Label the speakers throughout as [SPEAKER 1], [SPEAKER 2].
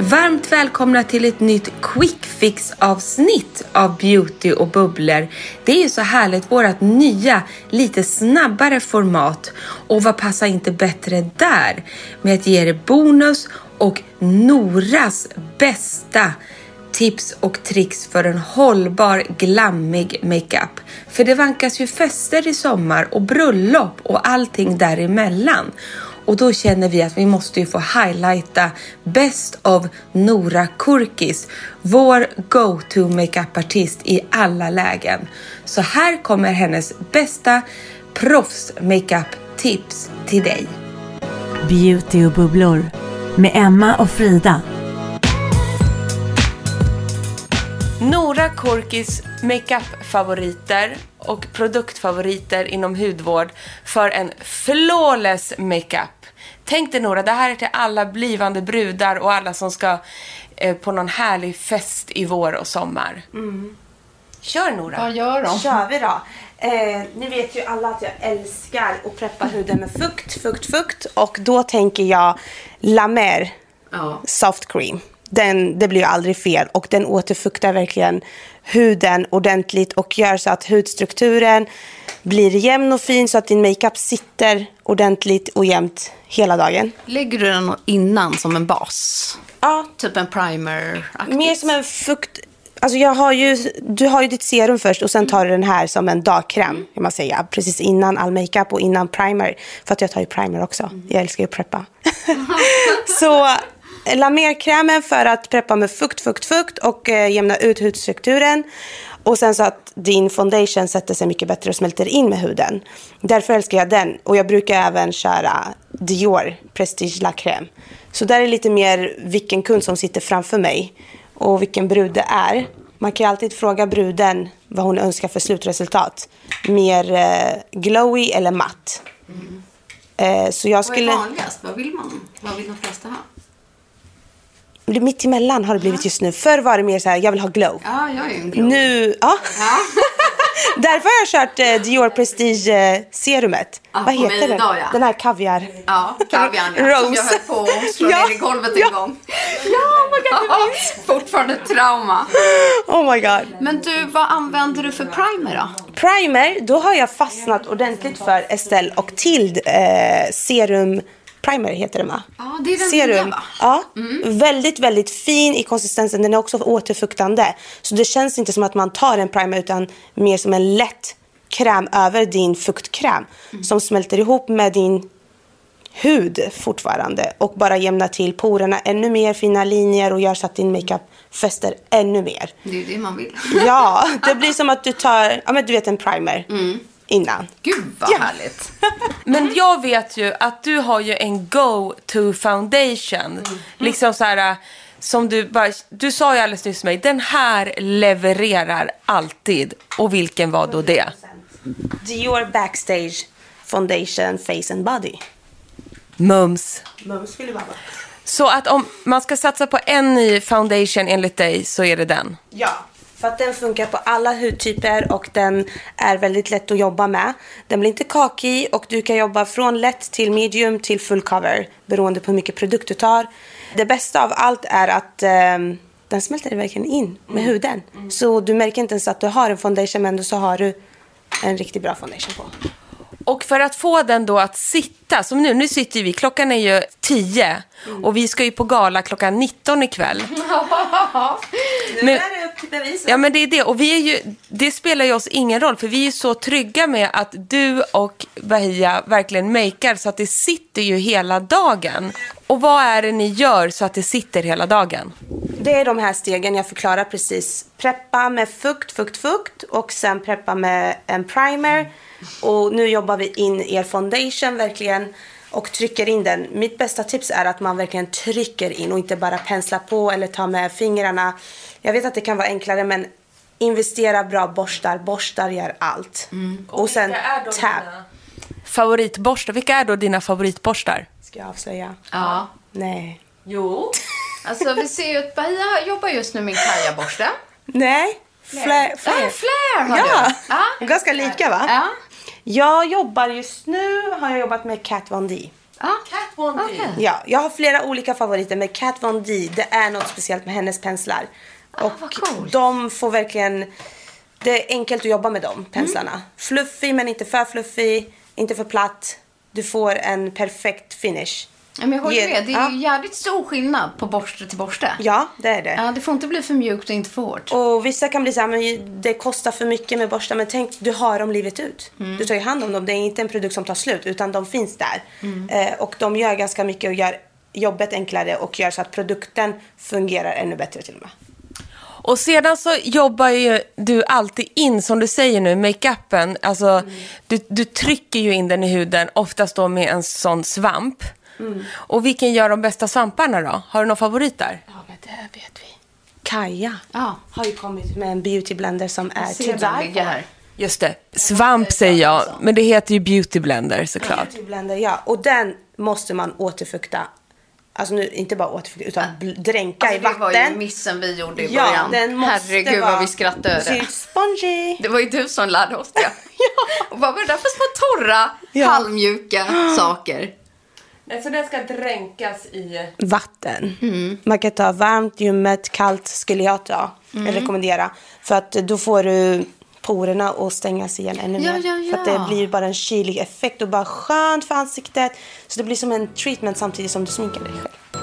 [SPEAKER 1] Varmt välkomna till ett nytt quick fix avsnitt av Beauty och bubblor. Det är ju så härligt, vårt nya lite snabbare format. Och vad passar inte bättre där med att ge er bonus och Noras bästa tips och tricks för en hållbar glammig makeup. För det vankas ju fester i sommar och bröllop och allting däremellan. Och då känner vi att vi måste ju få highlighta Best of Nora Kurkis, vår go-to makeupartist i alla lägen. Så här kommer hennes bästa proffs makeup-tips till dig.
[SPEAKER 2] Beauty och bubblor med Emma och Frida.
[SPEAKER 1] Nora Korkis makeup-favoriter och produktfavoriter inom hudvård för en flawless makeup. Tänk dig Nora, det här är till alla blivande brudar och alla som ska eh, på någon härlig fest i vår och sommar. Kör Nora!
[SPEAKER 3] Vad gör de?
[SPEAKER 4] kör vi då. Eh, ni vet ju alla att jag älskar att preppa huden med fukt, fukt, fukt. Och då tänker jag La Mer
[SPEAKER 3] Ja.
[SPEAKER 4] Soft Cream. Den, det blir ju aldrig fel och den återfuktar verkligen huden ordentligt och gör så att hudstrukturen blir jämn och fin så att din makeup sitter ordentligt och jämnt hela dagen.
[SPEAKER 3] Lägger du den innan som en bas?
[SPEAKER 4] Ja,
[SPEAKER 3] Typ en primer
[SPEAKER 4] Mer som en fukt... Alltså jag har ju, du har ju ditt serum först och sen tar du den här som en dagkräm. Kan man säga. Precis innan all makeup och innan primer. För att jag tar ju primer också. Jag älskar ju att preppa. Så lamerkrämen för att preppa med fukt, fukt, fukt och eh, jämna ut hudstrukturen. Och sen så att din foundation sätter sig mycket bättre och smälter in med huden. Därför älskar jag den. Och jag brukar även köra Dior Prestige La Crème. Så där är lite mer vilken kund som sitter framför mig och vilken brud det är. Man kan ju alltid fråga bruden vad hon önskar för slutresultat. Mer eh, glowy eller matt. Eh, så jag skulle...
[SPEAKER 3] Vad är vanligast? Vad vill man? Vad vill de flesta ha?
[SPEAKER 4] Det är Mitt emellan har det blivit just nu. Förr var det mer så här, jag vill ha glow.
[SPEAKER 3] Ja, jag är ju en glow.
[SPEAKER 4] Nu, ja.
[SPEAKER 3] Ja.
[SPEAKER 4] Därför har jag kört eh, Dior Prestige eh, serumet.
[SPEAKER 3] Ja,
[SPEAKER 4] Vad
[SPEAKER 3] Ah, på mig
[SPEAKER 4] heter den?
[SPEAKER 3] idag, ja.
[SPEAKER 4] Den här kaviar.
[SPEAKER 3] Ja, kaviarn ja, som jag
[SPEAKER 4] Rose.
[SPEAKER 3] höll på att slå
[SPEAKER 4] Ja,
[SPEAKER 3] ner i golvet
[SPEAKER 4] ja.
[SPEAKER 3] en gång. Ja, vad Fortfarande ett trauma.
[SPEAKER 4] Oh my god.
[SPEAKER 3] Men du, vad använder du för primer då?
[SPEAKER 4] Primer, då har jag fastnat ordentligt för Estelle och Tild eh, serum primer heter den va?
[SPEAKER 3] Ja, det är den
[SPEAKER 4] serum.
[SPEAKER 3] nya, va? Mm.
[SPEAKER 4] Ja, väldigt, väldigt fin i konsistensen. Den är också återfuktande. Så det känns inte som att man tar en primer utan mer som en lätt kräm över din fuktkräm
[SPEAKER 3] Mm.
[SPEAKER 4] som smälter ihop med din hud fortfarande och bara jämnar till porerna ännu mer, fina linjer och gör så att din makeup fäster ännu mer.
[SPEAKER 3] Det är ju det man vill.
[SPEAKER 4] Ja, det blir som att du tar, ja men du vet en primer innan.
[SPEAKER 3] Gud vad härligt.
[SPEAKER 1] Men jag vet ju att du har ju en go-to foundation. Liksom så här, äh, som du bara, du sa ju alldeles nyss till mig, den här levererar alltid. Och vilken var då det?
[SPEAKER 4] Dior Backstage Foundation Face and Body.
[SPEAKER 1] Mums.
[SPEAKER 4] Mums vill vara.
[SPEAKER 1] Så att om man ska satsa på en ny foundation enligt dig så är det den.
[SPEAKER 4] Ja. För att den funkar på alla hudtyper och den är väldigt lätt att jobba med. Den blir inte kakig och du kan jobba från lätt till medium till full cover beroende på hur mycket produkt du tar. Det bästa av allt är att ehm, den smälter verkligen in med huden. Så du märker inte ens att du har en foundation men ändå så har du en riktigt bra foundation på.
[SPEAKER 1] Och för att få den då att sitta, som nu, nu sitter ju vi, klockan är ju 10 och vi ska ju på gala klockan 19 ikväll. Men-
[SPEAKER 4] det upp till bevis.
[SPEAKER 1] Ja men det är det och vi är ju, det spelar ju oss ingen roll för vi är ju så trygga med att du och Bahia verkligen makear så att det sitter ju hela dagen. Och vad är det ni gör så att det sitter hela dagen?
[SPEAKER 4] Det är de här stegen jag förklarar precis. Preppa med fukt, fukt, fukt och sen preppa med en primer. Och nu jobbar vi in er foundation verkligen och trycker in den. Mitt bästa tips är att man verkligen trycker in och inte bara penslar på eller tar med fingrarna. Jag vet att det kan vara enklare men investera bra borstar. Borstar gör allt. Mm. Och, sen tab.
[SPEAKER 1] Favoritborstar, vilka är då dina favoritborstar?
[SPEAKER 4] Ska jag avslöja?
[SPEAKER 5] Ja.
[SPEAKER 4] Nej.
[SPEAKER 1] Jo.
[SPEAKER 5] Alltså vi ser ju att Bahia jobbar just nu med en kajaborste.
[SPEAKER 4] Nej. Ah, Flair.
[SPEAKER 5] Ja, en flare har
[SPEAKER 4] Ja,
[SPEAKER 5] du. Ja.
[SPEAKER 4] ganska lika va?
[SPEAKER 5] Ja.
[SPEAKER 4] Jag jobbar just nu, har jag jobbat med Kat Von D.
[SPEAKER 5] ja. Kat Von
[SPEAKER 4] Ja, jag har flera olika favoriter men Kat Von D, det är något speciellt med hennes penslar. Och
[SPEAKER 5] Ah, vad coolt.
[SPEAKER 4] de får verkligen, det är enkelt att jobba med de penslarna.
[SPEAKER 5] Mm.
[SPEAKER 4] Fluffig men inte för fluffig, inte för platt. Du får en perfekt finish.
[SPEAKER 5] Men jag håller
[SPEAKER 4] Ge-
[SPEAKER 5] med. Det är
[SPEAKER 4] ja.
[SPEAKER 5] ju jävligt stor skillnad på borste till borste.
[SPEAKER 4] Ja, det är det.
[SPEAKER 5] Ja, det får inte bli för mjukt och inte för hårt.
[SPEAKER 4] Och vissa kan bli så här, men det kostar för mycket med borstar. Men tänk, du har dem livet ut.
[SPEAKER 5] Mm.
[SPEAKER 4] Du tar ju hand om dem. Det är inte en produkt som tar slut, utan de finns där.
[SPEAKER 5] Mm.
[SPEAKER 4] Eh, och de gör ganska mycket och gör jobbet enklare och gör så att produkten fungerar ännu bättre till och med.
[SPEAKER 1] Och sedan så jobbar ju du alltid in, som du säger nu, makeupen. Alltså, du, du trycker ju in den i huden, oftast då med en sån svamp. Mm. Och vilken gör de bästa svamparna då? Har du någon favorit där?
[SPEAKER 4] Ja, men det vet vi. Kaja
[SPEAKER 5] Ja.
[SPEAKER 4] har ju kommit med en beauty blender som är
[SPEAKER 5] Ser
[SPEAKER 4] till
[SPEAKER 5] du den ligga här?
[SPEAKER 1] Just det, svamp säger jag, men det heter ju beauty blender såklart.
[SPEAKER 4] Beauty blender, ja. Och den måste man återfukta. Alltså nu, inte bara återfukta, utan bl- dränka i
[SPEAKER 5] Alltså, det
[SPEAKER 4] vatten.
[SPEAKER 5] var ju missen vi gjorde i början.
[SPEAKER 4] den måste
[SPEAKER 5] Herregud
[SPEAKER 4] vara-
[SPEAKER 5] vad vi skrattade
[SPEAKER 4] Det
[SPEAKER 5] över
[SPEAKER 4] ser
[SPEAKER 5] det.
[SPEAKER 4] ut spongy.
[SPEAKER 5] Det var ju du som lärde oss det. ja. Och bara, vad är det där för små torra,
[SPEAKER 4] Ja.
[SPEAKER 5] halvmjuka saker?
[SPEAKER 1] Nej, så den ska dränkas i...
[SPEAKER 4] vatten.
[SPEAKER 5] Mm.
[SPEAKER 4] Man kan ta varmt, ljummet, kallt skulle jag ta.
[SPEAKER 5] Mm.
[SPEAKER 4] Jag rekommendera. För att då får du porerna att stängas igen ännu
[SPEAKER 5] Ja,
[SPEAKER 4] mer.
[SPEAKER 5] ja, ja.
[SPEAKER 4] För att det blir bara en kylig effekt och bara skönt för ansiktet. Så det blir som en treatment samtidigt som du sminkar dig själv.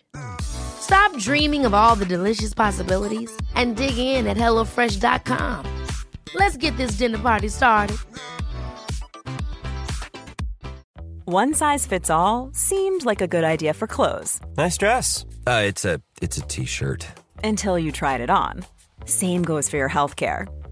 [SPEAKER 6] Stop dreaming of all the delicious possibilities and dig in at HelloFresh.com. Let's get this dinner party started.
[SPEAKER 7] One size fits all seemed like a good idea for clothes
[SPEAKER 8] Nice dress. Uh, it's a it's a t-shirt.
[SPEAKER 7] until you tried it on. Same goes for your healthcare.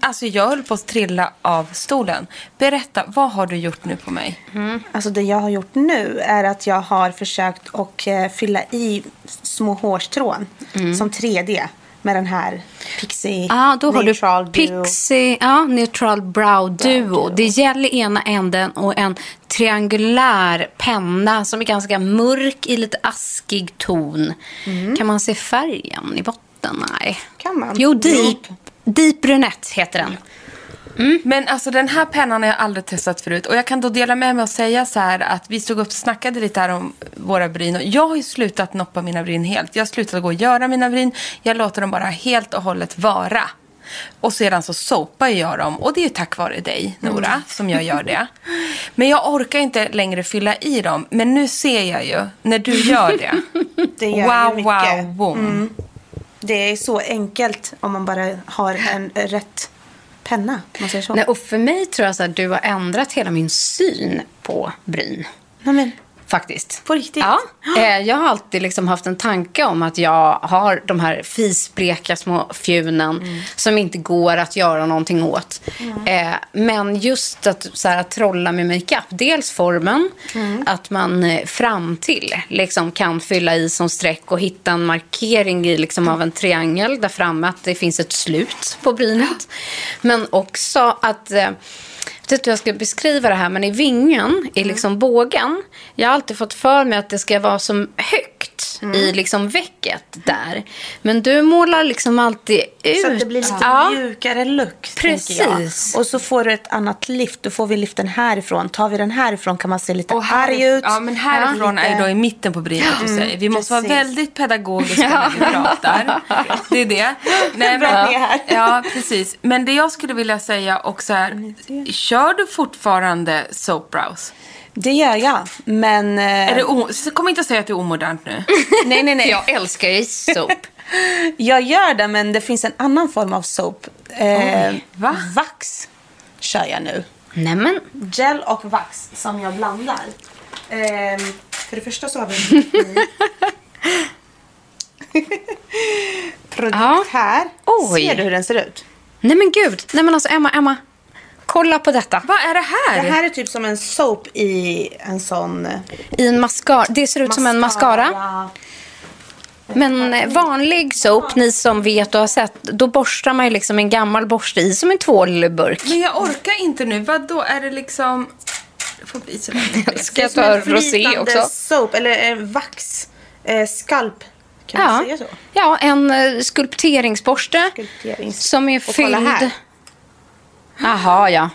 [SPEAKER 1] Alltså jag höll på att trilla av stolen. Berätta, vad har du gjort nu på mig?
[SPEAKER 4] Alltså det jag har gjort nu är att jag
[SPEAKER 5] Mm.
[SPEAKER 4] har försökt att eh, fylla i små hårstrån som 3D. med den här Pixie
[SPEAKER 5] Ah,
[SPEAKER 3] Ja, då har
[SPEAKER 4] Neutral
[SPEAKER 3] du
[SPEAKER 4] Duo.
[SPEAKER 3] Pixie, ja, Neutral Brow Duo. Det gäller ena änden och en triangulär penna som är ganska mörk i lite askig ton. Kan man se färgen i botten? Nej.
[SPEAKER 4] Mm. Kan man?
[SPEAKER 3] Jo, Deep, deep Brunette heter den.
[SPEAKER 1] Men alltså den här pennan har jag aldrig testat förut. Och jag kan då dela med mig och säga så här att vi stod upp och snackade lite här om våra bryn. Och jag har ju slutat noppa mina bryn helt. Jag har slutat gå och göra mina bryn. Jag låter dem bara helt och hållet vara. Och sedan så sopar jag dem. Och det är ju tack vare dig, Nora,
[SPEAKER 4] Mm.
[SPEAKER 1] som jag gör det. Men jag orkar inte längre fylla i dem. Men nu ser jag ju när du gör det.
[SPEAKER 4] Det gör
[SPEAKER 1] wow,
[SPEAKER 4] ju mycket.
[SPEAKER 1] wow, boom.
[SPEAKER 4] Mm. Det är så enkelt om man bara har en eh, rätt penna. om Man säger så.
[SPEAKER 3] Nej, och för mig tror jag så att du har ändrat hela min syn på bryn.
[SPEAKER 4] Nej, men,
[SPEAKER 3] Faktiskt.
[SPEAKER 4] På riktigt?
[SPEAKER 3] Ja. Eh, Jag har alltid liksom haft en tanke om att jag har de här fisbleka små fjunen
[SPEAKER 4] Mm.
[SPEAKER 3] som inte går att göra någonting åt. Eh, Men just att, så här, att trolla med makeup. Dels formen,
[SPEAKER 4] Mm.
[SPEAKER 3] att man eh, fram till liksom, kan fylla i som streck och hitta en markering i, liksom, av en triangel där framme. Att det finns ett slut på brynet. Men också att... eh, jag vet inte hur jag ska beskriva det här, men i vingen, i liksom bågen. Jag har alltid fått för mig att det ska vara som högt i liksom väcket där. Men du målar liksom alltid ut.
[SPEAKER 4] Så att det blir lite mjukare look. tänker jag.
[SPEAKER 3] Precis.
[SPEAKER 4] Och så får du ett annat lift. Då får vi liften härifrån. Tar vi den härifrån kan man se lite
[SPEAKER 1] Och här,
[SPEAKER 4] arg ut.
[SPEAKER 1] Ja, men härifrån är ju då i mitten på brynet du
[SPEAKER 4] Mm,
[SPEAKER 1] säger. Vi måste vara
[SPEAKER 4] precis.
[SPEAKER 1] väldigt pedagogiska när vi pratar. Det är det. Nej,
[SPEAKER 4] Bra att ni är här.
[SPEAKER 1] ja, precis. Men det jag skulle vilja säga också
[SPEAKER 4] Mm,
[SPEAKER 1] är, kör du fortfarande soap brows?
[SPEAKER 4] Det gör jag. Men... eh,
[SPEAKER 1] Är det o- så kom inte och säg att det är omodernt nu.
[SPEAKER 4] nej, nej, nej.
[SPEAKER 3] Jag älskar ju soap.
[SPEAKER 4] Jag gör det, men det finns en annan form av soap. Eh,
[SPEAKER 1] va?
[SPEAKER 4] Vax kör jag nu.
[SPEAKER 3] Nej men,
[SPEAKER 4] Gel och vax som jag blandar. Eh, för det första så har vi en produkt
[SPEAKER 3] Ja.
[SPEAKER 4] här.
[SPEAKER 3] Oj.
[SPEAKER 4] Ser du hur den ser ut?
[SPEAKER 3] nej men gud. Nej men alltså Emma, Emma. Kolla på detta.
[SPEAKER 1] Vad är det här?
[SPEAKER 4] Det här är typ som en soap i en sån... eh,
[SPEAKER 3] I en mascara. Det ser ut som en mascara. Men eh, vanlig soap, ni som vet och har sett, då borstar man ju liksom en gammal borste i som en tvålburk.
[SPEAKER 1] Men jag orkar inte nu. Vad då är det liksom... Jag får bli så där.
[SPEAKER 3] Ska jag
[SPEAKER 4] Som en
[SPEAKER 3] ta rosé
[SPEAKER 4] flytande
[SPEAKER 3] också?
[SPEAKER 4] soap, eller eh, vax. Eh, skalp. Kan man säga så?
[SPEAKER 3] ja, en eh, skulpteringsborste
[SPEAKER 4] Skulpterings-
[SPEAKER 3] som är
[SPEAKER 4] Och kolla här. Mhm.
[SPEAKER 3] fylld... Jaha, ja.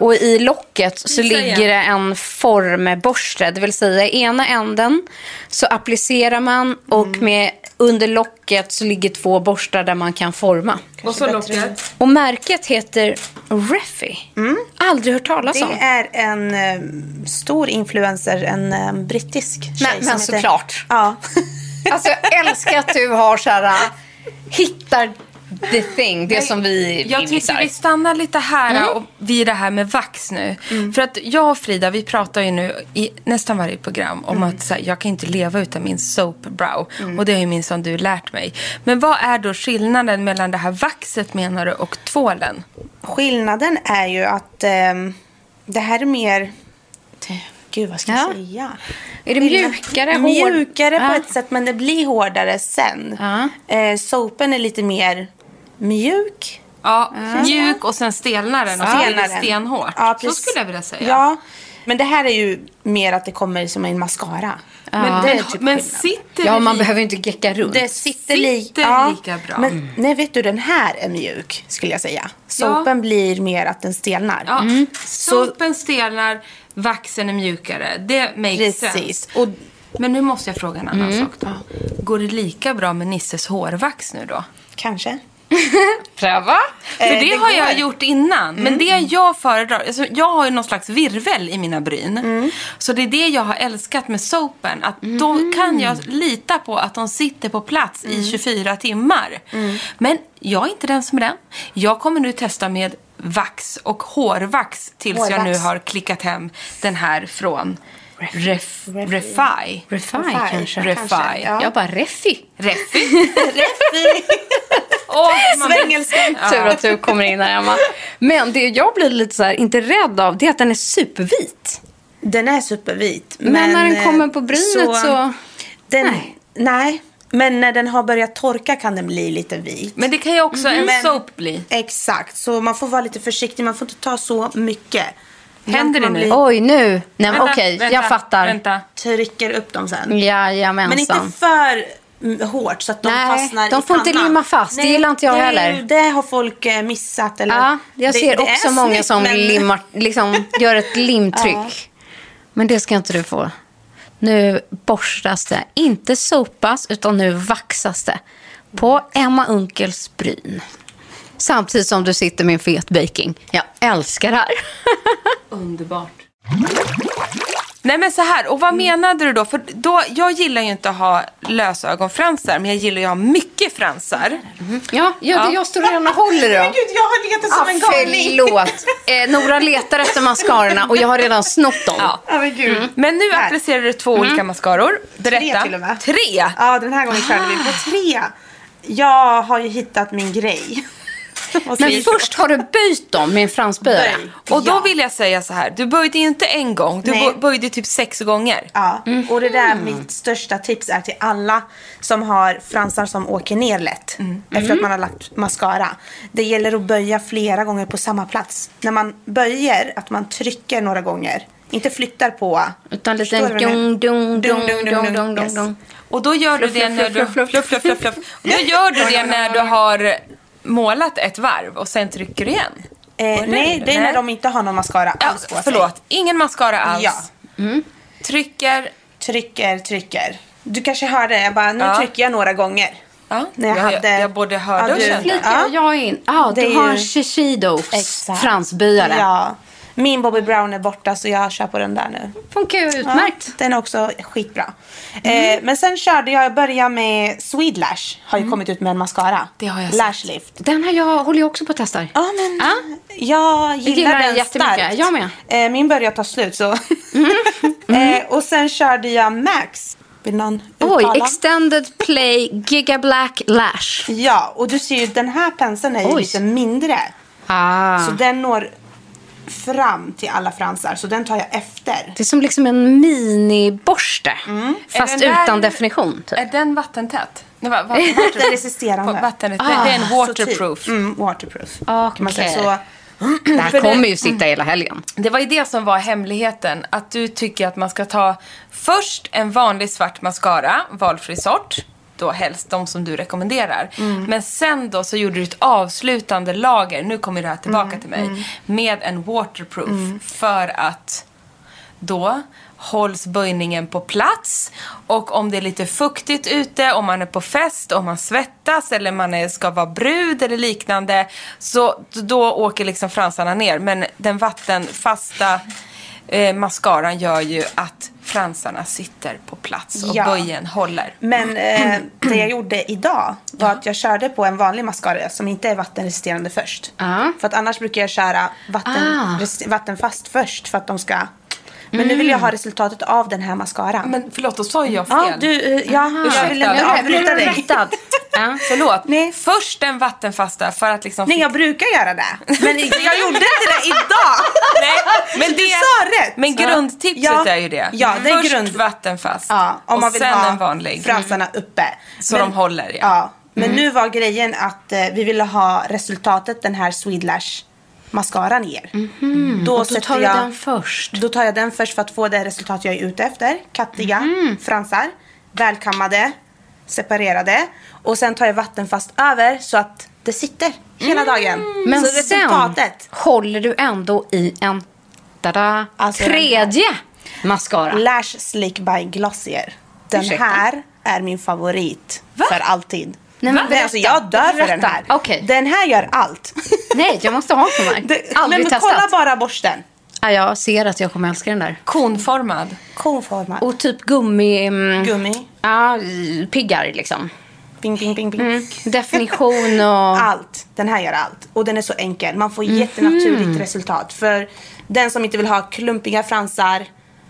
[SPEAKER 3] Och i locket
[SPEAKER 1] Visa
[SPEAKER 3] så
[SPEAKER 1] igen.
[SPEAKER 3] ligger det en formborste. Det vill säga i ena änden så applicerar man och
[SPEAKER 4] Mm.
[SPEAKER 3] med, under locket så ligger två borstar där man kan forma.
[SPEAKER 1] Och så locket.
[SPEAKER 3] Och märket heter Reffy. Aldrig hört talas om.
[SPEAKER 4] Mm. Det är en eh, stor influencer, en eh, brittisk tjej
[SPEAKER 3] Men- men
[SPEAKER 4] som
[SPEAKER 3] såklart.
[SPEAKER 4] Ja.
[SPEAKER 3] Alltså jag älskar att du har så här, äh, hittar the thing, det som vi
[SPEAKER 1] Jag tycker
[SPEAKER 3] missar.
[SPEAKER 1] vi stannar lite här och vid det här med vax nu. För att jag och Frida, vi pratar ju nu i nästan varje program om att så här, jag kan inte leva utan min soap brow. Och det har ju minsann du lärt mig. Men vad är då skillnaden mellan det här vaxet menar du och tvålen?
[SPEAKER 4] Skillnaden är ju att ehm, det här är mer... det- Gud, vad ska jag
[SPEAKER 3] Ja.
[SPEAKER 4] säga?
[SPEAKER 3] Är det
[SPEAKER 4] Skillnad-
[SPEAKER 3] mjukare, hård-
[SPEAKER 4] Mjukare
[SPEAKER 3] Ja.
[SPEAKER 4] på ett sätt, men det blir hårdare sen.
[SPEAKER 3] Ja.
[SPEAKER 4] Eh, sopen är lite mer mjuk.
[SPEAKER 1] Ja, mjuk och sen stelnar den och så blir det
[SPEAKER 4] Senare.
[SPEAKER 1] stenhårt.
[SPEAKER 4] Ja,
[SPEAKER 1] så
[SPEAKER 4] precis.
[SPEAKER 1] skulle jag vilja säga.
[SPEAKER 4] Ja, men det här är ju mer att det kommer som en mascara.
[SPEAKER 1] Men,
[SPEAKER 4] det
[SPEAKER 1] den,
[SPEAKER 4] är typ
[SPEAKER 1] men
[SPEAKER 4] skillnaden.
[SPEAKER 1] sitter
[SPEAKER 3] Ja,
[SPEAKER 1] det
[SPEAKER 3] man
[SPEAKER 1] i-
[SPEAKER 3] behöver ju inte gecka runt.
[SPEAKER 4] Det sitter, li-
[SPEAKER 1] Sitter lika bra. Mm.
[SPEAKER 4] Men, nej, vet du, den här är mjuk skulle jag säga. Sopen blir mer att den stelnar.
[SPEAKER 1] Ja, Sopen stelnar, vaxen är mjukare. Det makes
[SPEAKER 4] Precis.
[SPEAKER 1] sense. Och, men nu måste jag fråga en annan sak då. Går det lika bra med Nisses hårvax nu då?
[SPEAKER 4] Kanske.
[SPEAKER 3] Pröva.
[SPEAKER 1] För det,
[SPEAKER 4] Eh, det
[SPEAKER 1] har jag
[SPEAKER 4] går. Mm.
[SPEAKER 1] gjort innan. Men det jag föredrar, alltså jag har ju någon slags virvel i mina bryn.
[SPEAKER 4] Mm.
[SPEAKER 1] Så det är det jag har älskat med sopen. Att
[SPEAKER 4] Mm.
[SPEAKER 1] då kan jag lita på att de sitter på plats i 24 timmar.
[SPEAKER 4] Mm.
[SPEAKER 1] Men jag är inte den som är den. Jag kommer nu testa med vax och hårvax tills jag
[SPEAKER 4] Hårvax.
[SPEAKER 1] nu har klickat hem den här från Ref-
[SPEAKER 4] Refi.
[SPEAKER 1] Refi.
[SPEAKER 3] Refi,
[SPEAKER 4] Refi,
[SPEAKER 3] kanske.
[SPEAKER 1] Refi.
[SPEAKER 4] kanske, ja.
[SPEAKER 3] Jag bara reffi.
[SPEAKER 1] Refi. Åh, man-
[SPEAKER 4] Svängelskan.
[SPEAKER 3] Tur att du kommer in här Emma. Men det jag blir lite så här, inte rädd av, det är att den är supervit.
[SPEAKER 4] Den är supervit.
[SPEAKER 3] Men när den
[SPEAKER 4] eh,
[SPEAKER 3] kommer på brynet så-
[SPEAKER 4] Den,
[SPEAKER 3] nej.
[SPEAKER 4] nej. Men när den har börjat torka kan den bli lite vit.
[SPEAKER 1] Men det kan ju också en soap bli.
[SPEAKER 4] Exakt, så man får vara lite försiktig. Man får inte ta så mycket.
[SPEAKER 1] Händer det nu?
[SPEAKER 3] Oj, nu. Nej, men
[SPEAKER 1] Vänta,
[SPEAKER 3] okej,
[SPEAKER 1] vänta,
[SPEAKER 3] jag fattar.
[SPEAKER 1] vänta.
[SPEAKER 4] Trycker upp dem sen.
[SPEAKER 3] Jajamensan.
[SPEAKER 4] Men inte för mm, hårt så att de
[SPEAKER 3] Nej,
[SPEAKER 4] fastnar
[SPEAKER 3] de
[SPEAKER 4] i
[SPEAKER 3] får inte
[SPEAKER 4] pannan.
[SPEAKER 3] limma fast. Det gillar inte jag
[SPEAKER 4] det, är
[SPEAKER 3] heller.
[SPEAKER 4] ju- Det har folk eh, missat. Eller?
[SPEAKER 3] Ja, jag
[SPEAKER 4] Det-
[SPEAKER 3] ser
[SPEAKER 4] det är
[SPEAKER 3] också många
[SPEAKER 4] snyggt,
[SPEAKER 3] som
[SPEAKER 4] men-
[SPEAKER 3] limmar, liksom, gör ett limtryck. Men det ska inte du få. Nu borstas det. Inte sopas, utan nu vaxas det. På Emma Unkels bryn. Samtidigt som du sitter med en fet baking. Jag älskar det här.
[SPEAKER 1] Underbart. Nej men så här, och vad
[SPEAKER 4] Mm.
[SPEAKER 1] menade du då? För då, jag gillar ju inte att ha lösa ögonfransar, men jag gillar ju att ha mycket fransar.
[SPEAKER 3] Ja, ja, det
[SPEAKER 1] Ja.
[SPEAKER 3] jag står redan och håller i dem.
[SPEAKER 4] Men gud, jag har letat som
[SPEAKER 3] Ah,
[SPEAKER 4] en galning.
[SPEAKER 3] förlåt. Eh, Nora letar efter mascarorna och jag har redan snott dem.
[SPEAKER 1] Ja.
[SPEAKER 4] Ja, men
[SPEAKER 3] Mm.
[SPEAKER 4] gud.
[SPEAKER 1] Men nu applicerar du två olika mascaror. Berätta.
[SPEAKER 4] Mm. Tre till och med.
[SPEAKER 1] Tre!
[SPEAKER 4] Ja, den här gången körde vi på tre. Jag har ju hittat min grej. Vad
[SPEAKER 3] Men
[SPEAKER 4] säger
[SPEAKER 3] först har du böjt dem med en fransböjare.
[SPEAKER 4] Böj.
[SPEAKER 1] Och då
[SPEAKER 4] Ja.
[SPEAKER 1] vill jag säga så här, du böjde ju inte en gång, du
[SPEAKER 4] Nej.
[SPEAKER 1] bo- böjde typ sex gånger.
[SPEAKER 4] Ja, och det där mitt största tips är till alla som har fransar som åker ner lätt efter att man har lagt mascara. Det gäller att böja flera gånger på samma plats. När man böjer, att man trycker några gånger. Inte flyttar på.
[SPEAKER 3] Utan lite
[SPEAKER 4] Förstår du vad jag menar?
[SPEAKER 3] dung, dung, dung, dung, dung, dung,
[SPEAKER 4] Yes.
[SPEAKER 3] dung.
[SPEAKER 1] Och då gör du
[SPEAKER 3] Fluff,
[SPEAKER 1] det
[SPEAKER 3] fluff,
[SPEAKER 1] när du...
[SPEAKER 3] fluff, fluff,
[SPEAKER 1] Fluff, fluff, fluff, fluff. Och då gör du det när du har målat ett varv och sen trycker du igen.
[SPEAKER 4] Eh, nej, det är när de inte har någon mascara
[SPEAKER 1] Ja,
[SPEAKER 4] alls på sig.
[SPEAKER 1] förlåt, ingen mascara alls.
[SPEAKER 4] Ja. Mm.
[SPEAKER 1] Trycker...
[SPEAKER 4] Trycker, trycker. Du kanske hörde, jag bara, nu
[SPEAKER 1] Ja.
[SPEAKER 4] trycker jag några gånger.
[SPEAKER 1] Ja,
[SPEAKER 4] När jag,
[SPEAKER 1] jag,
[SPEAKER 4] hade...
[SPEAKER 1] jag, jag både hörde och
[SPEAKER 4] Ja, du-
[SPEAKER 1] kände.
[SPEAKER 3] Flika
[SPEAKER 4] Ja.
[SPEAKER 3] jag in. Ja,
[SPEAKER 4] Det
[SPEAKER 3] du
[SPEAKER 4] är
[SPEAKER 3] har
[SPEAKER 4] ju-
[SPEAKER 3] en Shishido
[SPEAKER 4] Exakt.
[SPEAKER 3] fransbyare.
[SPEAKER 4] Ja. Min Bobby Brown är borta så jag kör på den där nu.
[SPEAKER 3] Funkar ju utmärkt.
[SPEAKER 4] Ja, den är också skitbra. Eh, men sen körde jag, jag började med Swede Lash. Har ju kommit ut med en mascara.
[SPEAKER 1] Det har jag sett.
[SPEAKER 4] Lash Lift.
[SPEAKER 3] Den har jag, håller jag också på att testa.
[SPEAKER 4] Ja men
[SPEAKER 3] Ja.
[SPEAKER 4] jag gillar,
[SPEAKER 3] Ah? gillar den
[SPEAKER 4] den
[SPEAKER 3] jättemycket.
[SPEAKER 4] starkt.
[SPEAKER 3] Jag med.
[SPEAKER 4] Eh, min börjar ta slut så. eh, och sen körde jag Max. Vill någon
[SPEAKER 3] Oj,
[SPEAKER 4] uttala?
[SPEAKER 3] Extended Play Giga Black Lash.
[SPEAKER 4] Ja, och du ser ju den här penseln är ju
[SPEAKER 3] Oj.
[SPEAKER 4] lite mindre.
[SPEAKER 3] Ah.
[SPEAKER 4] Så den når fram till alla fransar. Så den tar jag efter.
[SPEAKER 3] Det är som liksom en miniborste.
[SPEAKER 4] Mm.
[SPEAKER 3] Fast
[SPEAKER 1] Är den där-
[SPEAKER 3] utan definition. Typ.
[SPEAKER 1] Är den vattentät? Nej, va, va,
[SPEAKER 4] Vattenresisterande.
[SPEAKER 1] Vatten,
[SPEAKER 3] Ah,
[SPEAKER 1] det är en waterproof.
[SPEAKER 4] Så typ, mm, waterproof. Kan man säga.
[SPEAKER 3] Okej.
[SPEAKER 4] Så,
[SPEAKER 3] Det här
[SPEAKER 1] För det-
[SPEAKER 4] Mm.
[SPEAKER 3] kommer ju sitta hela helgen.
[SPEAKER 1] Det var ju det som var hemligheten. Att du tycker att man ska ta först en vanlig svart mascara, valfri sort. Då helst de som du rekommenderar.
[SPEAKER 3] Mm.
[SPEAKER 1] Men sen då så gjorde du ett avslutande lager, nu kommer det här tillbaka
[SPEAKER 3] Mm,
[SPEAKER 1] till mig, med en waterproof. För att då hålls böjningen på plats och om det är lite fuktigt ute, om man är på fest, om man svettas eller man är, ska vara brud eller liknande så då åker liksom fransarna ner. Men den vattenfasta eh, mascaran gör ju att fransarna sitter på plats och
[SPEAKER 4] Ja.
[SPEAKER 1] böjen håller.
[SPEAKER 4] men eh, det jag gjorde idag var att jag körde på en vanlig mascara som inte är vattenresisterande först.
[SPEAKER 3] Ja.
[SPEAKER 4] För att annars brukar jag köra vatten,
[SPEAKER 3] Ah.
[SPEAKER 4] resi- vattenfast först för att de ska... Men nu vill jag ha resultatet av den här mascaran.
[SPEAKER 1] Men förlåt, då sa ju jag fel.
[SPEAKER 4] ja, du, eh, ja, jag ville
[SPEAKER 1] Ursäkta.
[SPEAKER 4] inte
[SPEAKER 1] Jag
[SPEAKER 4] avbryta dig.
[SPEAKER 3] ja.
[SPEAKER 1] Förlåt.
[SPEAKER 4] Nej.
[SPEAKER 1] Först den vattenfasta för att liksom...
[SPEAKER 4] Nej, jag brukar göra det. Men jag gjorde inte det idag.
[SPEAKER 1] Nej, men
[SPEAKER 4] Du
[SPEAKER 1] det,
[SPEAKER 4] sa rätt.
[SPEAKER 1] Men grundtipset
[SPEAKER 4] Ja.
[SPEAKER 1] är ju det.
[SPEAKER 4] Ja, det är
[SPEAKER 1] Först
[SPEAKER 4] grund-
[SPEAKER 1] vattenfast
[SPEAKER 4] Ja, om
[SPEAKER 1] och
[SPEAKER 4] man vill
[SPEAKER 1] sen
[SPEAKER 4] ha
[SPEAKER 1] en vanlig.
[SPEAKER 4] fransarna uppe.
[SPEAKER 1] Så de håller, ja. Mm.
[SPEAKER 4] Men nu var grejen att eh, vi ville ha resultatet, den här Swede Lash mascaran ger. Då,
[SPEAKER 3] Mhm. Då
[SPEAKER 4] sätter
[SPEAKER 3] tar du
[SPEAKER 4] jag,
[SPEAKER 3] den först.
[SPEAKER 4] Då tar jag den först för att få det resultat jag är ute efter. Kattiga
[SPEAKER 3] Mhm.
[SPEAKER 4] fransar, välkammade, separerade. Och sen tar jag vattenfast över så att det sitter hela dagen.
[SPEAKER 3] Mm. Men
[SPEAKER 4] så resultatet.
[SPEAKER 3] sen håller du ändå i en tada,
[SPEAKER 4] Alltså,
[SPEAKER 3] tredje mascara.
[SPEAKER 4] Lash Slick by Glossier. Den
[SPEAKER 3] Ursäkta?
[SPEAKER 4] här är min favorit för alltid.
[SPEAKER 3] Nej, men
[SPEAKER 4] Va?
[SPEAKER 3] berätta.
[SPEAKER 4] alltså, jag dör för den
[SPEAKER 3] Berätta.
[SPEAKER 4] här.
[SPEAKER 3] Okej.
[SPEAKER 4] Den här gör allt.
[SPEAKER 3] Nej, jag måste ha sån här.
[SPEAKER 4] Det-
[SPEAKER 3] Aldrig
[SPEAKER 4] men
[SPEAKER 3] testat.
[SPEAKER 4] Kolla bara borsten.
[SPEAKER 3] Ja, jag ser att jag kommer älska den där.
[SPEAKER 1] Konformad.
[SPEAKER 4] Konformad.
[SPEAKER 3] Och typ gummi... mm,
[SPEAKER 4] Gummi.
[SPEAKER 3] Ja, i- piggar liksom.
[SPEAKER 4] Bing, bing, bing, bing.
[SPEAKER 3] Mm. Definition och...
[SPEAKER 4] Allt. Den här gör allt. Och den är så enkel. Man får
[SPEAKER 3] Mhm.
[SPEAKER 4] jättenaturligt resultat. För den som inte vill ha klumpiga fransar.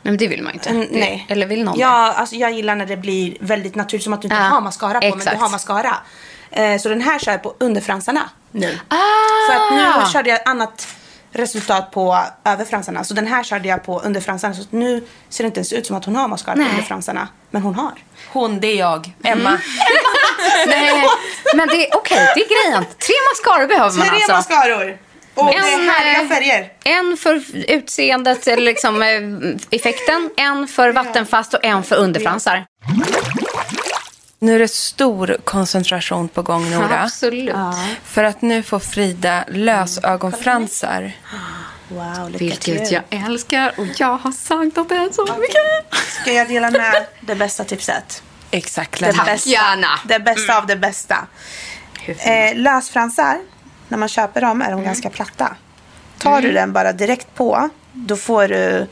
[SPEAKER 3] Nej, men det vill man ju inte.
[SPEAKER 4] Mm,
[SPEAKER 3] Det-
[SPEAKER 4] Nej.
[SPEAKER 3] Eller vill någon
[SPEAKER 4] ja, alltså Jag gillar när det blir väldigt naturligt, som att du inte
[SPEAKER 3] Ja,
[SPEAKER 4] har mascara på, men
[SPEAKER 3] exakt.
[SPEAKER 4] du har mascara. Eh, så den här kör jag på underfransarna nu.
[SPEAKER 3] Ah!
[SPEAKER 4] För att nu körde jag ett annat resultat på överfransarna. Så den här körde jag på underfransarna. Så nu ser det inte ens ut som att hon har mascara
[SPEAKER 3] Nej.
[SPEAKER 4] på underfransarna. Men hon har.
[SPEAKER 1] Hon, det är jag. Emma.
[SPEAKER 3] Nej, men det är okej, det är grejen. Tre mascaror behöver man
[SPEAKER 4] Tre
[SPEAKER 3] alltså.
[SPEAKER 4] mascaror! Och det är
[SPEAKER 3] En,
[SPEAKER 4] härliga
[SPEAKER 3] eh,
[SPEAKER 4] färger.
[SPEAKER 3] En för utseendet, eller liksom eh, effekten, en för vattenfast och en för underfransar.
[SPEAKER 1] Nu är det stor koncentration på gång, Nora.
[SPEAKER 3] Absolut.
[SPEAKER 1] För att nu får Frida lösögonfransar.
[SPEAKER 4] Wow, lycka
[SPEAKER 3] Vilket
[SPEAKER 4] till.
[SPEAKER 3] jag älskar och jag har saknat det så mycket.
[SPEAKER 4] Ska jag dela med det bästa tipset?
[SPEAKER 1] Exakt,
[SPEAKER 4] Det
[SPEAKER 1] Lena.
[SPEAKER 4] bästa,
[SPEAKER 3] gärna.
[SPEAKER 4] Det bästa
[SPEAKER 3] Mm.
[SPEAKER 4] av det bästa. Eh, lösfransar, när man köper dem är de
[SPEAKER 3] Mm.
[SPEAKER 4] ganska platta. Tar du den bara direkt på, då får du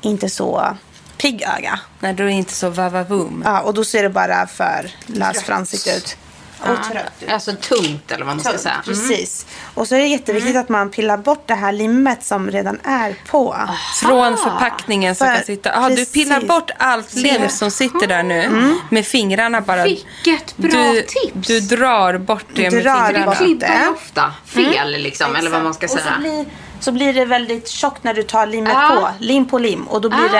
[SPEAKER 4] inte så pigg öga.
[SPEAKER 1] Nej, du är inte så vavavum.
[SPEAKER 4] Ja, och då ser det bara för lösfransigt ut. Och trött ut.
[SPEAKER 3] Alltså tungt eller vad man ska säga. Mm.
[SPEAKER 4] Precis. Och så är det jätteviktigt att man pillar bort det här limmet som redan är på.
[SPEAKER 1] Från förpackningen som
[SPEAKER 4] För-
[SPEAKER 1] kan sitta. Ah, du
[SPEAKER 4] precis.
[SPEAKER 1] pillar bort allt lim som sitter där nu med fingrarna bara.
[SPEAKER 3] Vilket bra
[SPEAKER 1] du,
[SPEAKER 3] tips.
[SPEAKER 1] Du drar bort det med
[SPEAKER 4] Drar
[SPEAKER 1] fingrarna.
[SPEAKER 4] bort.
[SPEAKER 3] Klibbar ju ofta fel liksom, eller vad man ska
[SPEAKER 4] Och så
[SPEAKER 3] säga.
[SPEAKER 4] blir, så blir det väldigt tjockt när du tar limmet
[SPEAKER 3] Ja.
[SPEAKER 4] på. Lim på lim. Och då blir
[SPEAKER 3] Ah.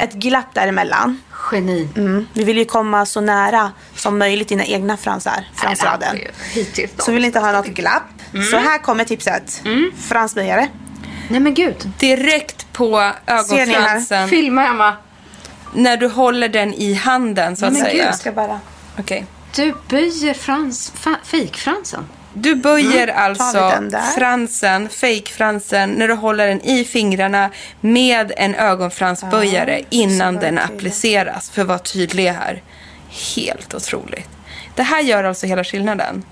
[SPEAKER 4] det ett glapp däremellan.
[SPEAKER 3] Geni.
[SPEAKER 4] Mm. Vi vill ju komma så nära som möjligt dina egna fransar. Fransraden.
[SPEAKER 3] Nej, Alltså, det här är ju hittills då.
[SPEAKER 4] Så vi vill inte ha något glapp.
[SPEAKER 1] Mm.
[SPEAKER 4] Så här kommer tipset. Fransböjare.
[SPEAKER 3] Nej men gud.
[SPEAKER 1] Direkt på
[SPEAKER 4] Ser ni här?
[SPEAKER 1] ögonfransen.
[SPEAKER 3] Filma Emma.
[SPEAKER 1] När du håller den i handen så att säga.
[SPEAKER 4] Jag ska bara...
[SPEAKER 1] Okej.
[SPEAKER 3] Du böjer frans, fa, fejkfransen.
[SPEAKER 1] Du böjer
[SPEAKER 4] Mm. Tar
[SPEAKER 1] alltså
[SPEAKER 4] vi den där?
[SPEAKER 1] fransen, fejkfransen, när du håller den i fingrarna med en ögonfransböjare innan den appliceras. För att vara tydlig här. Helt otroligt. Det här gör alltså hela skillnaden.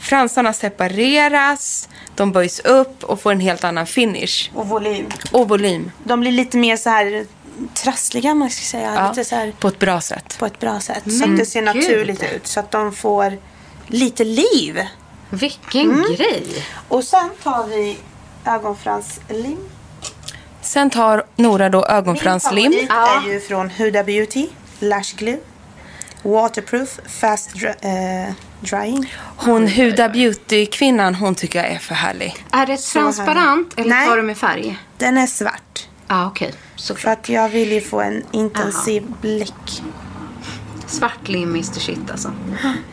[SPEAKER 1] Fransarna separeras, de böjs upp och får en helt annan finish.
[SPEAKER 4] Och volym.
[SPEAKER 1] Och volym.
[SPEAKER 4] De blir lite mer så här trassliga, man ska säga.
[SPEAKER 1] Ja,
[SPEAKER 4] Lite så här...
[SPEAKER 1] på ett bra sätt.
[SPEAKER 4] på ett bra sätt. Så att det ser naturligt ut. Så att de får lite liv.
[SPEAKER 3] Vilken grej.
[SPEAKER 4] Och sen tar vi ögonfranslim.
[SPEAKER 1] Sen tar Nora då
[SPEAKER 4] Min
[SPEAKER 1] ögonfranslim.
[SPEAKER 4] favorit är ju från Huda Beauty. Lash Glue. Waterproof Fast dry- eh, Drying.
[SPEAKER 1] Hon Huda Beauty-kvinnan, hon tycker jag är för härlig.
[SPEAKER 3] Är det transparent eller
[SPEAKER 4] Nej.
[SPEAKER 3] tar du med färg?
[SPEAKER 4] Den är svart.
[SPEAKER 3] Ja ah, okej. Såklart.
[SPEAKER 4] För att jag vill ju få en intensiv blick.
[SPEAKER 3] Svart lim is the shit alltså.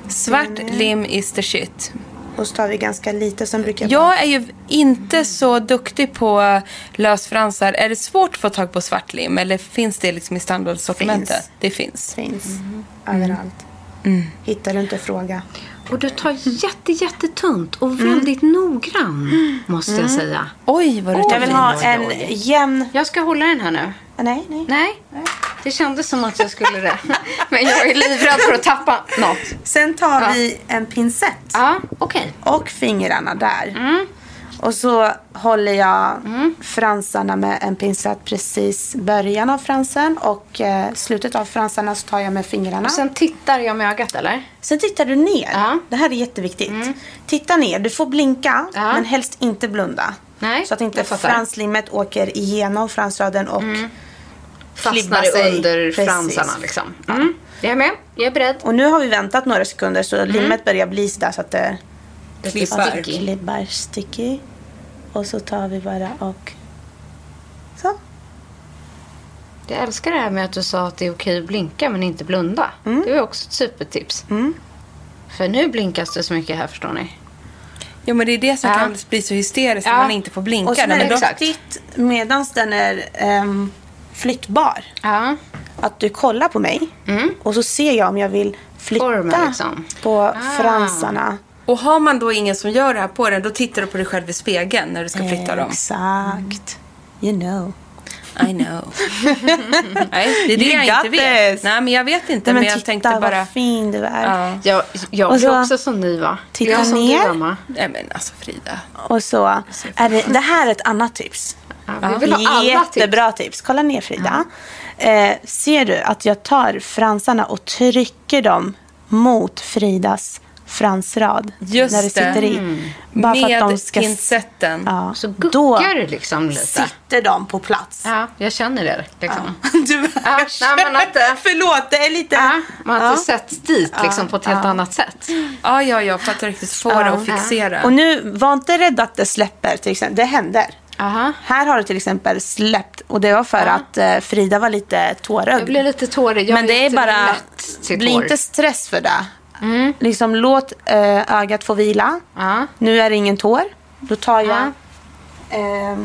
[SPEAKER 1] Svart
[SPEAKER 4] Mm.
[SPEAKER 1] lim is the shit.
[SPEAKER 4] Och så tar vi ganska lite. Sen brukar jag...
[SPEAKER 1] Jag är ju inte så duktig på lösfransar. Är det svårt att få tag på svart lim eller finns det liksom i standardsortimentet?
[SPEAKER 4] Finns.
[SPEAKER 1] Det finns.
[SPEAKER 4] Finns överallt. Mm. Hittar du inte fråga.
[SPEAKER 3] Och du tar jätte jättetunt och väldigt noggrann måste jag säga.
[SPEAKER 1] Oj, vad du
[SPEAKER 4] Jag vill ha en jämn...
[SPEAKER 3] Jag ska hålla den här nu.
[SPEAKER 4] Nej, nej.
[SPEAKER 3] Nej, det kändes som att jag skulle det. Men jag är livrädd för att tappa något.
[SPEAKER 4] Sen tar vi en pincett.
[SPEAKER 3] Ja, okej.
[SPEAKER 4] och fingrarna där. Och så håller jag fransarna med en pincett precis början av fransen och eh, slutet av fransarna så tar jag med fingrarna.
[SPEAKER 3] Och
[SPEAKER 4] Sen,
[SPEAKER 3] sen tittar jag med ögat eller?
[SPEAKER 4] tittar du ner.
[SPEAKER 3] Ja. Mm.
[SPEAKER 4] Det här är jätteviktigt. Titta ner. Du får blinka
[SPEAKER 3] Ja.
[SPEAKER 4] men helst inte blunda.
[SPEAKER 3] Nej,
[SPEAKER 4] så att inte
[SPEAKER 3] jag fattar. Mm.
[SPEAKER 4] franslimmet åker igenom fransraden och
[SPEAKER 3] Fastnar
[SPEAKER 4] klibbar sig.
[SPEAKER 3] under
[SPEAKER 4] Precis.
[SPEAKER 3] fransarna liksom. Mm. Jag är med. Jag är beredd.
[SPEAKER 4] Och nu har vi väntat några sekunder så
[SPEAKER 3] Mm.
[SPEAKER 4] limmet börjar bli sådär så att eh, det
[SPEAKER 1] Klippa.
[SPEAKER 3] Sticky.
[SPEAKER 4] klibbar sticky. Och så tar vi bara och så.
[SPEAKER 3] Jag älskar det här med att du sa att det är okej att blinka men inte blunda. Det är också ett supertips. För nu blinkas det så mycket här förstår ni.
[SPEAKER 1] Ja, men det är det som
[SPEAKER 3] Ja.
[SPEAKER 1] kan bli så hysteriskt när
[SPEAKER 3] Ja.
[SPEAKER 1] man inte får blinka.
[SPEAKER 4] Och sen
[SPEAKER 1] Nej,
[SPEAKER 4] är
[SPEAKER 1] men
[SPEAKER 4] det
[SPEAKER 1] då-
[SPEAKER 4] viktigt medan den är ehm, flyttbar
[SPEAKER 3] Ja.
[SPEAKER 4] att du kollar på mig och så ser jag om jag vill flytta
[SPEAKER 3] Mm. Formen, liksom.
[SPEAKER 4] på fransarna.
[SPEAKER 1] Och har man då ingen som gör det här på den, då tittar du på dig själv i spegeln när du ska flytta Mm. dem.
[SPEAKER 4] Exakt. You know.
[SPEAKER 1] I know. Nej, det är det
[SPEAKER 4] You
[SPEAKER 1] jag
[SPEAKER 4] got
[SPEAKER 1] inte vet.
[SPEAKER 4] this.
[SPEAKER 1] Nej, men jag vet inte. men
[SPEAKER 4] Nej, men
[SPEAKER 1] jag
[SPEAKER 4] titta
[SPEAKER 1] tänkte bara...
[SPEAKER 4] vad fin du är.
[SPEAKER 1] Ja.
[SPEAKER 3] Jag, jag
[SPEAKER 4] Och
[SPEAKER 3] blir
[SPEAKER 4] så-
[SPEAKER 3] också som ni va?
[SPEAKER 4] Titta
[SPEAKER 3] jag är som
[SPEAKER 4] ner.
[SPEAKER 3] Du, mamma.
[SPEAKER 1] Nej, men alltså Frida.
[SPEAKER 4] Och så är det, det här är ett annat tips.
[SPEAKER 3] Ja, vi vill ha alla tips.
[SPEAKER 4] Jättebra tips. Kolla ner Frida. Eh, ser du att jag tar fransarna och trycker dem mot Fridas fransrad
[SPEAKER 1] Just
[SPEAKER 4] när det sitter i.
[SPEAKER 1] Mm.
[SPEAKER 4] Bara för
[SPEAKER 1] Med
[SPEAKER 4] att de ska...
[SPEAKER 1] pincetten.
[SPEAKER 4] Ja. Så
[SPEAKER 3] Då liksom lite.
[SPEAKER 4] sitter de på plats.
[SPEAKER 3] Ja, jag känner det. Liksom.
[SPEAKER 4] Du
[SPEAKER 3] Ja, nej, man har inte,
[SPEAKER 4] Förlåt, det är lite...
[SPEAKER 3] man har inte
[SPEAKER 4] Ja.
[SPEAKER 3] sett dit liksom, på ett helt annat sätt.
[SPEAKER 1] Ja, ja, ja, för att riktigt få det att fixera.
[SPEAKER 4] Och nu, var inte rädd att det släpper till exempel. Det händer.
[SPEAKER 3] Aha.
[SPEAKER 4] Här har det till exempel släppt och det var för att eh, Frida var lite tårögd.
[SPEAKER 3] Jag blir lite tårig. Jag
[SPEAKER 4] Men det är
[SPEAKER 3] inte
[SPEAKER 4] bara,
[SPEAKER 3] lätt till
[SPEAKER 4] bli
[SPEAKER 3] tår.
[SPEAKER 4] inte stress för det. Liksom låt eh, ögat få vila.
[SPEAKER 3] Ja.
[SPEAKER 4] Nu är det ingen tår. Då tar jag eh,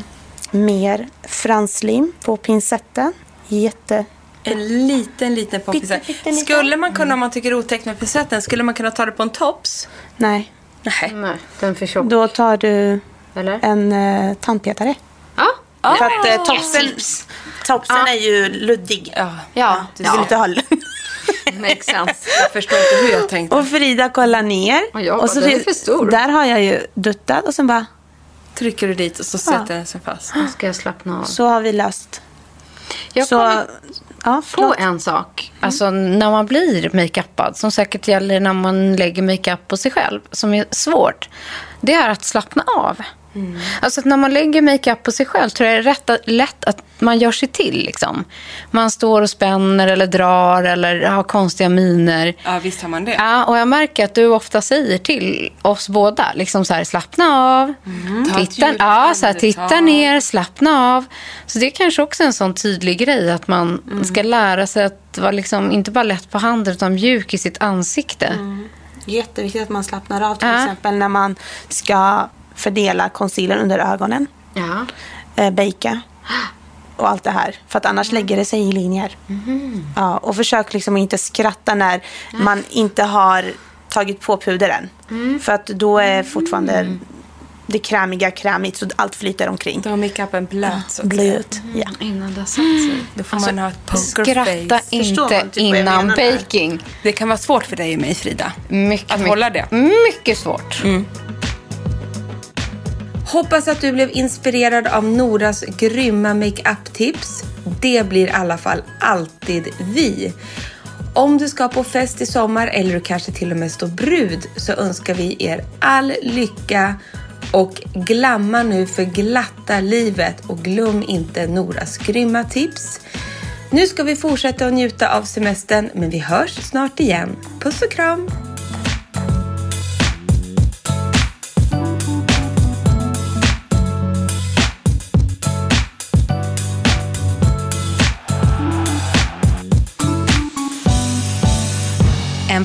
[SPEAKER 4] mer franslim på pincetten. Jätte...
[SPEAKER 1] En liten, liten poppinsätt.
[SPEAKER 4] Pytte, Mm. pytteliten.
[SPEAKER 1] Skulle man kunna, om man tycker det är otäckt med pincetten, skulle man kunna ta det på en tops?
[SPEAKER 4] Nej.
[SPEAKER 1] Nej.
[SPEAKER 3] Nej, den är för tjock.
[SPEAKER 4] Då tar du
[SPEAKER 3] Eller?
[SPEAKER 4] en eh, tandpetare.
[SPEAKER 3] Ja.
[SPEAKER 4] För att eh, topsen, topsen är ju luddig.
[SPEAKER 1] Ja.
[SPEAKER 3] Ja,
[SPEAKER 4] Du vill inte ha ludd.
[SPEAKER 3] makes sense.
[SPEAKER 1] Jag förstår inte hur jag tänkte.
[SPEAKER 4] Och Frida kollar ner.
[SPEAKER 3] Och jag bara, den är för stor.
[SPEAKER 4] Där har jag ju duttat och sen bara,
[SPEAKER 1] Trycker du dit och så sätter den sig fast.
[SPEAKER 3] Nu ska jag slappna av.
[SPEAKER 4] så har vi löst.
[SPEAKER 3] Jag
[SPEAKER 4] så,
[SPEAKER 3] kommer
[SPEAKER 4] ja,
[SPEAKER 3] på
[SPEAKER 4] förlåt.
[SPEAKER 3] en sak. Alltså när man blir makeupad, som säkert gäller när man lägger makeup på sig själv, som är svårt, det är att slappna av. Alltså att när man lägger makeup på sig själv tror jag det är rätt att, lätt att man gör sig till. Liksom. Man står och spänner eller drar eller har konstiga miner.
[SPEAKER 1] Ja, visst har man det.
[SPEAKER 3] Ja, och jag märker att du ofta säger till oss båda, liksom så här, slappna av,
[SPEAKER 1] Ta ett
[SPEAKER 3] titta,
[SPEAKER 1] djupt
[SPEAKER 3] ja, så här,
[SPEAKER 1] andetag.
[SPEAKER 3] titta ner, slappna av. Så det är kanske också en sån tydlig grej, att man ska lära sig att vara liksom, inte bara lätt på handen, utan mjuk i sitt ansikte.
[SPEAKER 4] Jätteviktigt att man slappnar av till
[SPEAKER 3] Ja.
[SPEAKER 4] exempel när man ska fördela concealern under ögonen,
[SPEAKER 3] Ja.
[SPEAKER 4] eh, bejka och allt det här. För att annars
[SPEAKER 3] Mm.
[SPEAKER 4] lägger det sig i linjer.
[SPEAKER 3] Mhm.
[SPEAKER 4] Ja, och försök liksom inte skratta när man inte har tagit på puder än.
[SPEAKER 3] Mm.
[SPEAKER 4] För att då är fortfarande det krämiga krämigt så allt flyter omkring.
[SPEAKER 1] Då har makeupen blöt så att säga.
[SPEAKER 4] Blöt. Alltså, Ja.
[SPEAKER 3] Innan det har satt sig.
[SPEAKER 1] Då får man ha ett
[SPEAKER 3] Skratta
[SPEAKER 1] pokerface.
[SPEAKER 4] Förstår
[SPEAKER 3] inte
[SPEAKER 4] man typ vad jag
[SPEAKER 3] innan
[SPEAKER 4] menar där?
[SPEAKER 3] baking.
[SPEAKER 1] Det kan vara svårt för dig och mig, Frida.
[SPEAKER 3] Mycket,
[SPEAKER 1] Att
[SPEAKER 3] mycket-
[SPEAKER 1] hålla det.
[SPEAKER 3] Mycket svårt.
[SPEAKER 1] Hoppas att du blev inspirerad av Noras grymma makeup-tips. Det blir i alla fall alltid vi. Om du ska på fest i sommar eller du kanske till och med står brud så önskar vi er all lycka och glamma nu för glatta livet och glöm inte Noras grymma tips. Nu ska vi fortsätta att njuta av semestern men vi hörs snart igen. Puss och kram!
[SPEAKER 9] En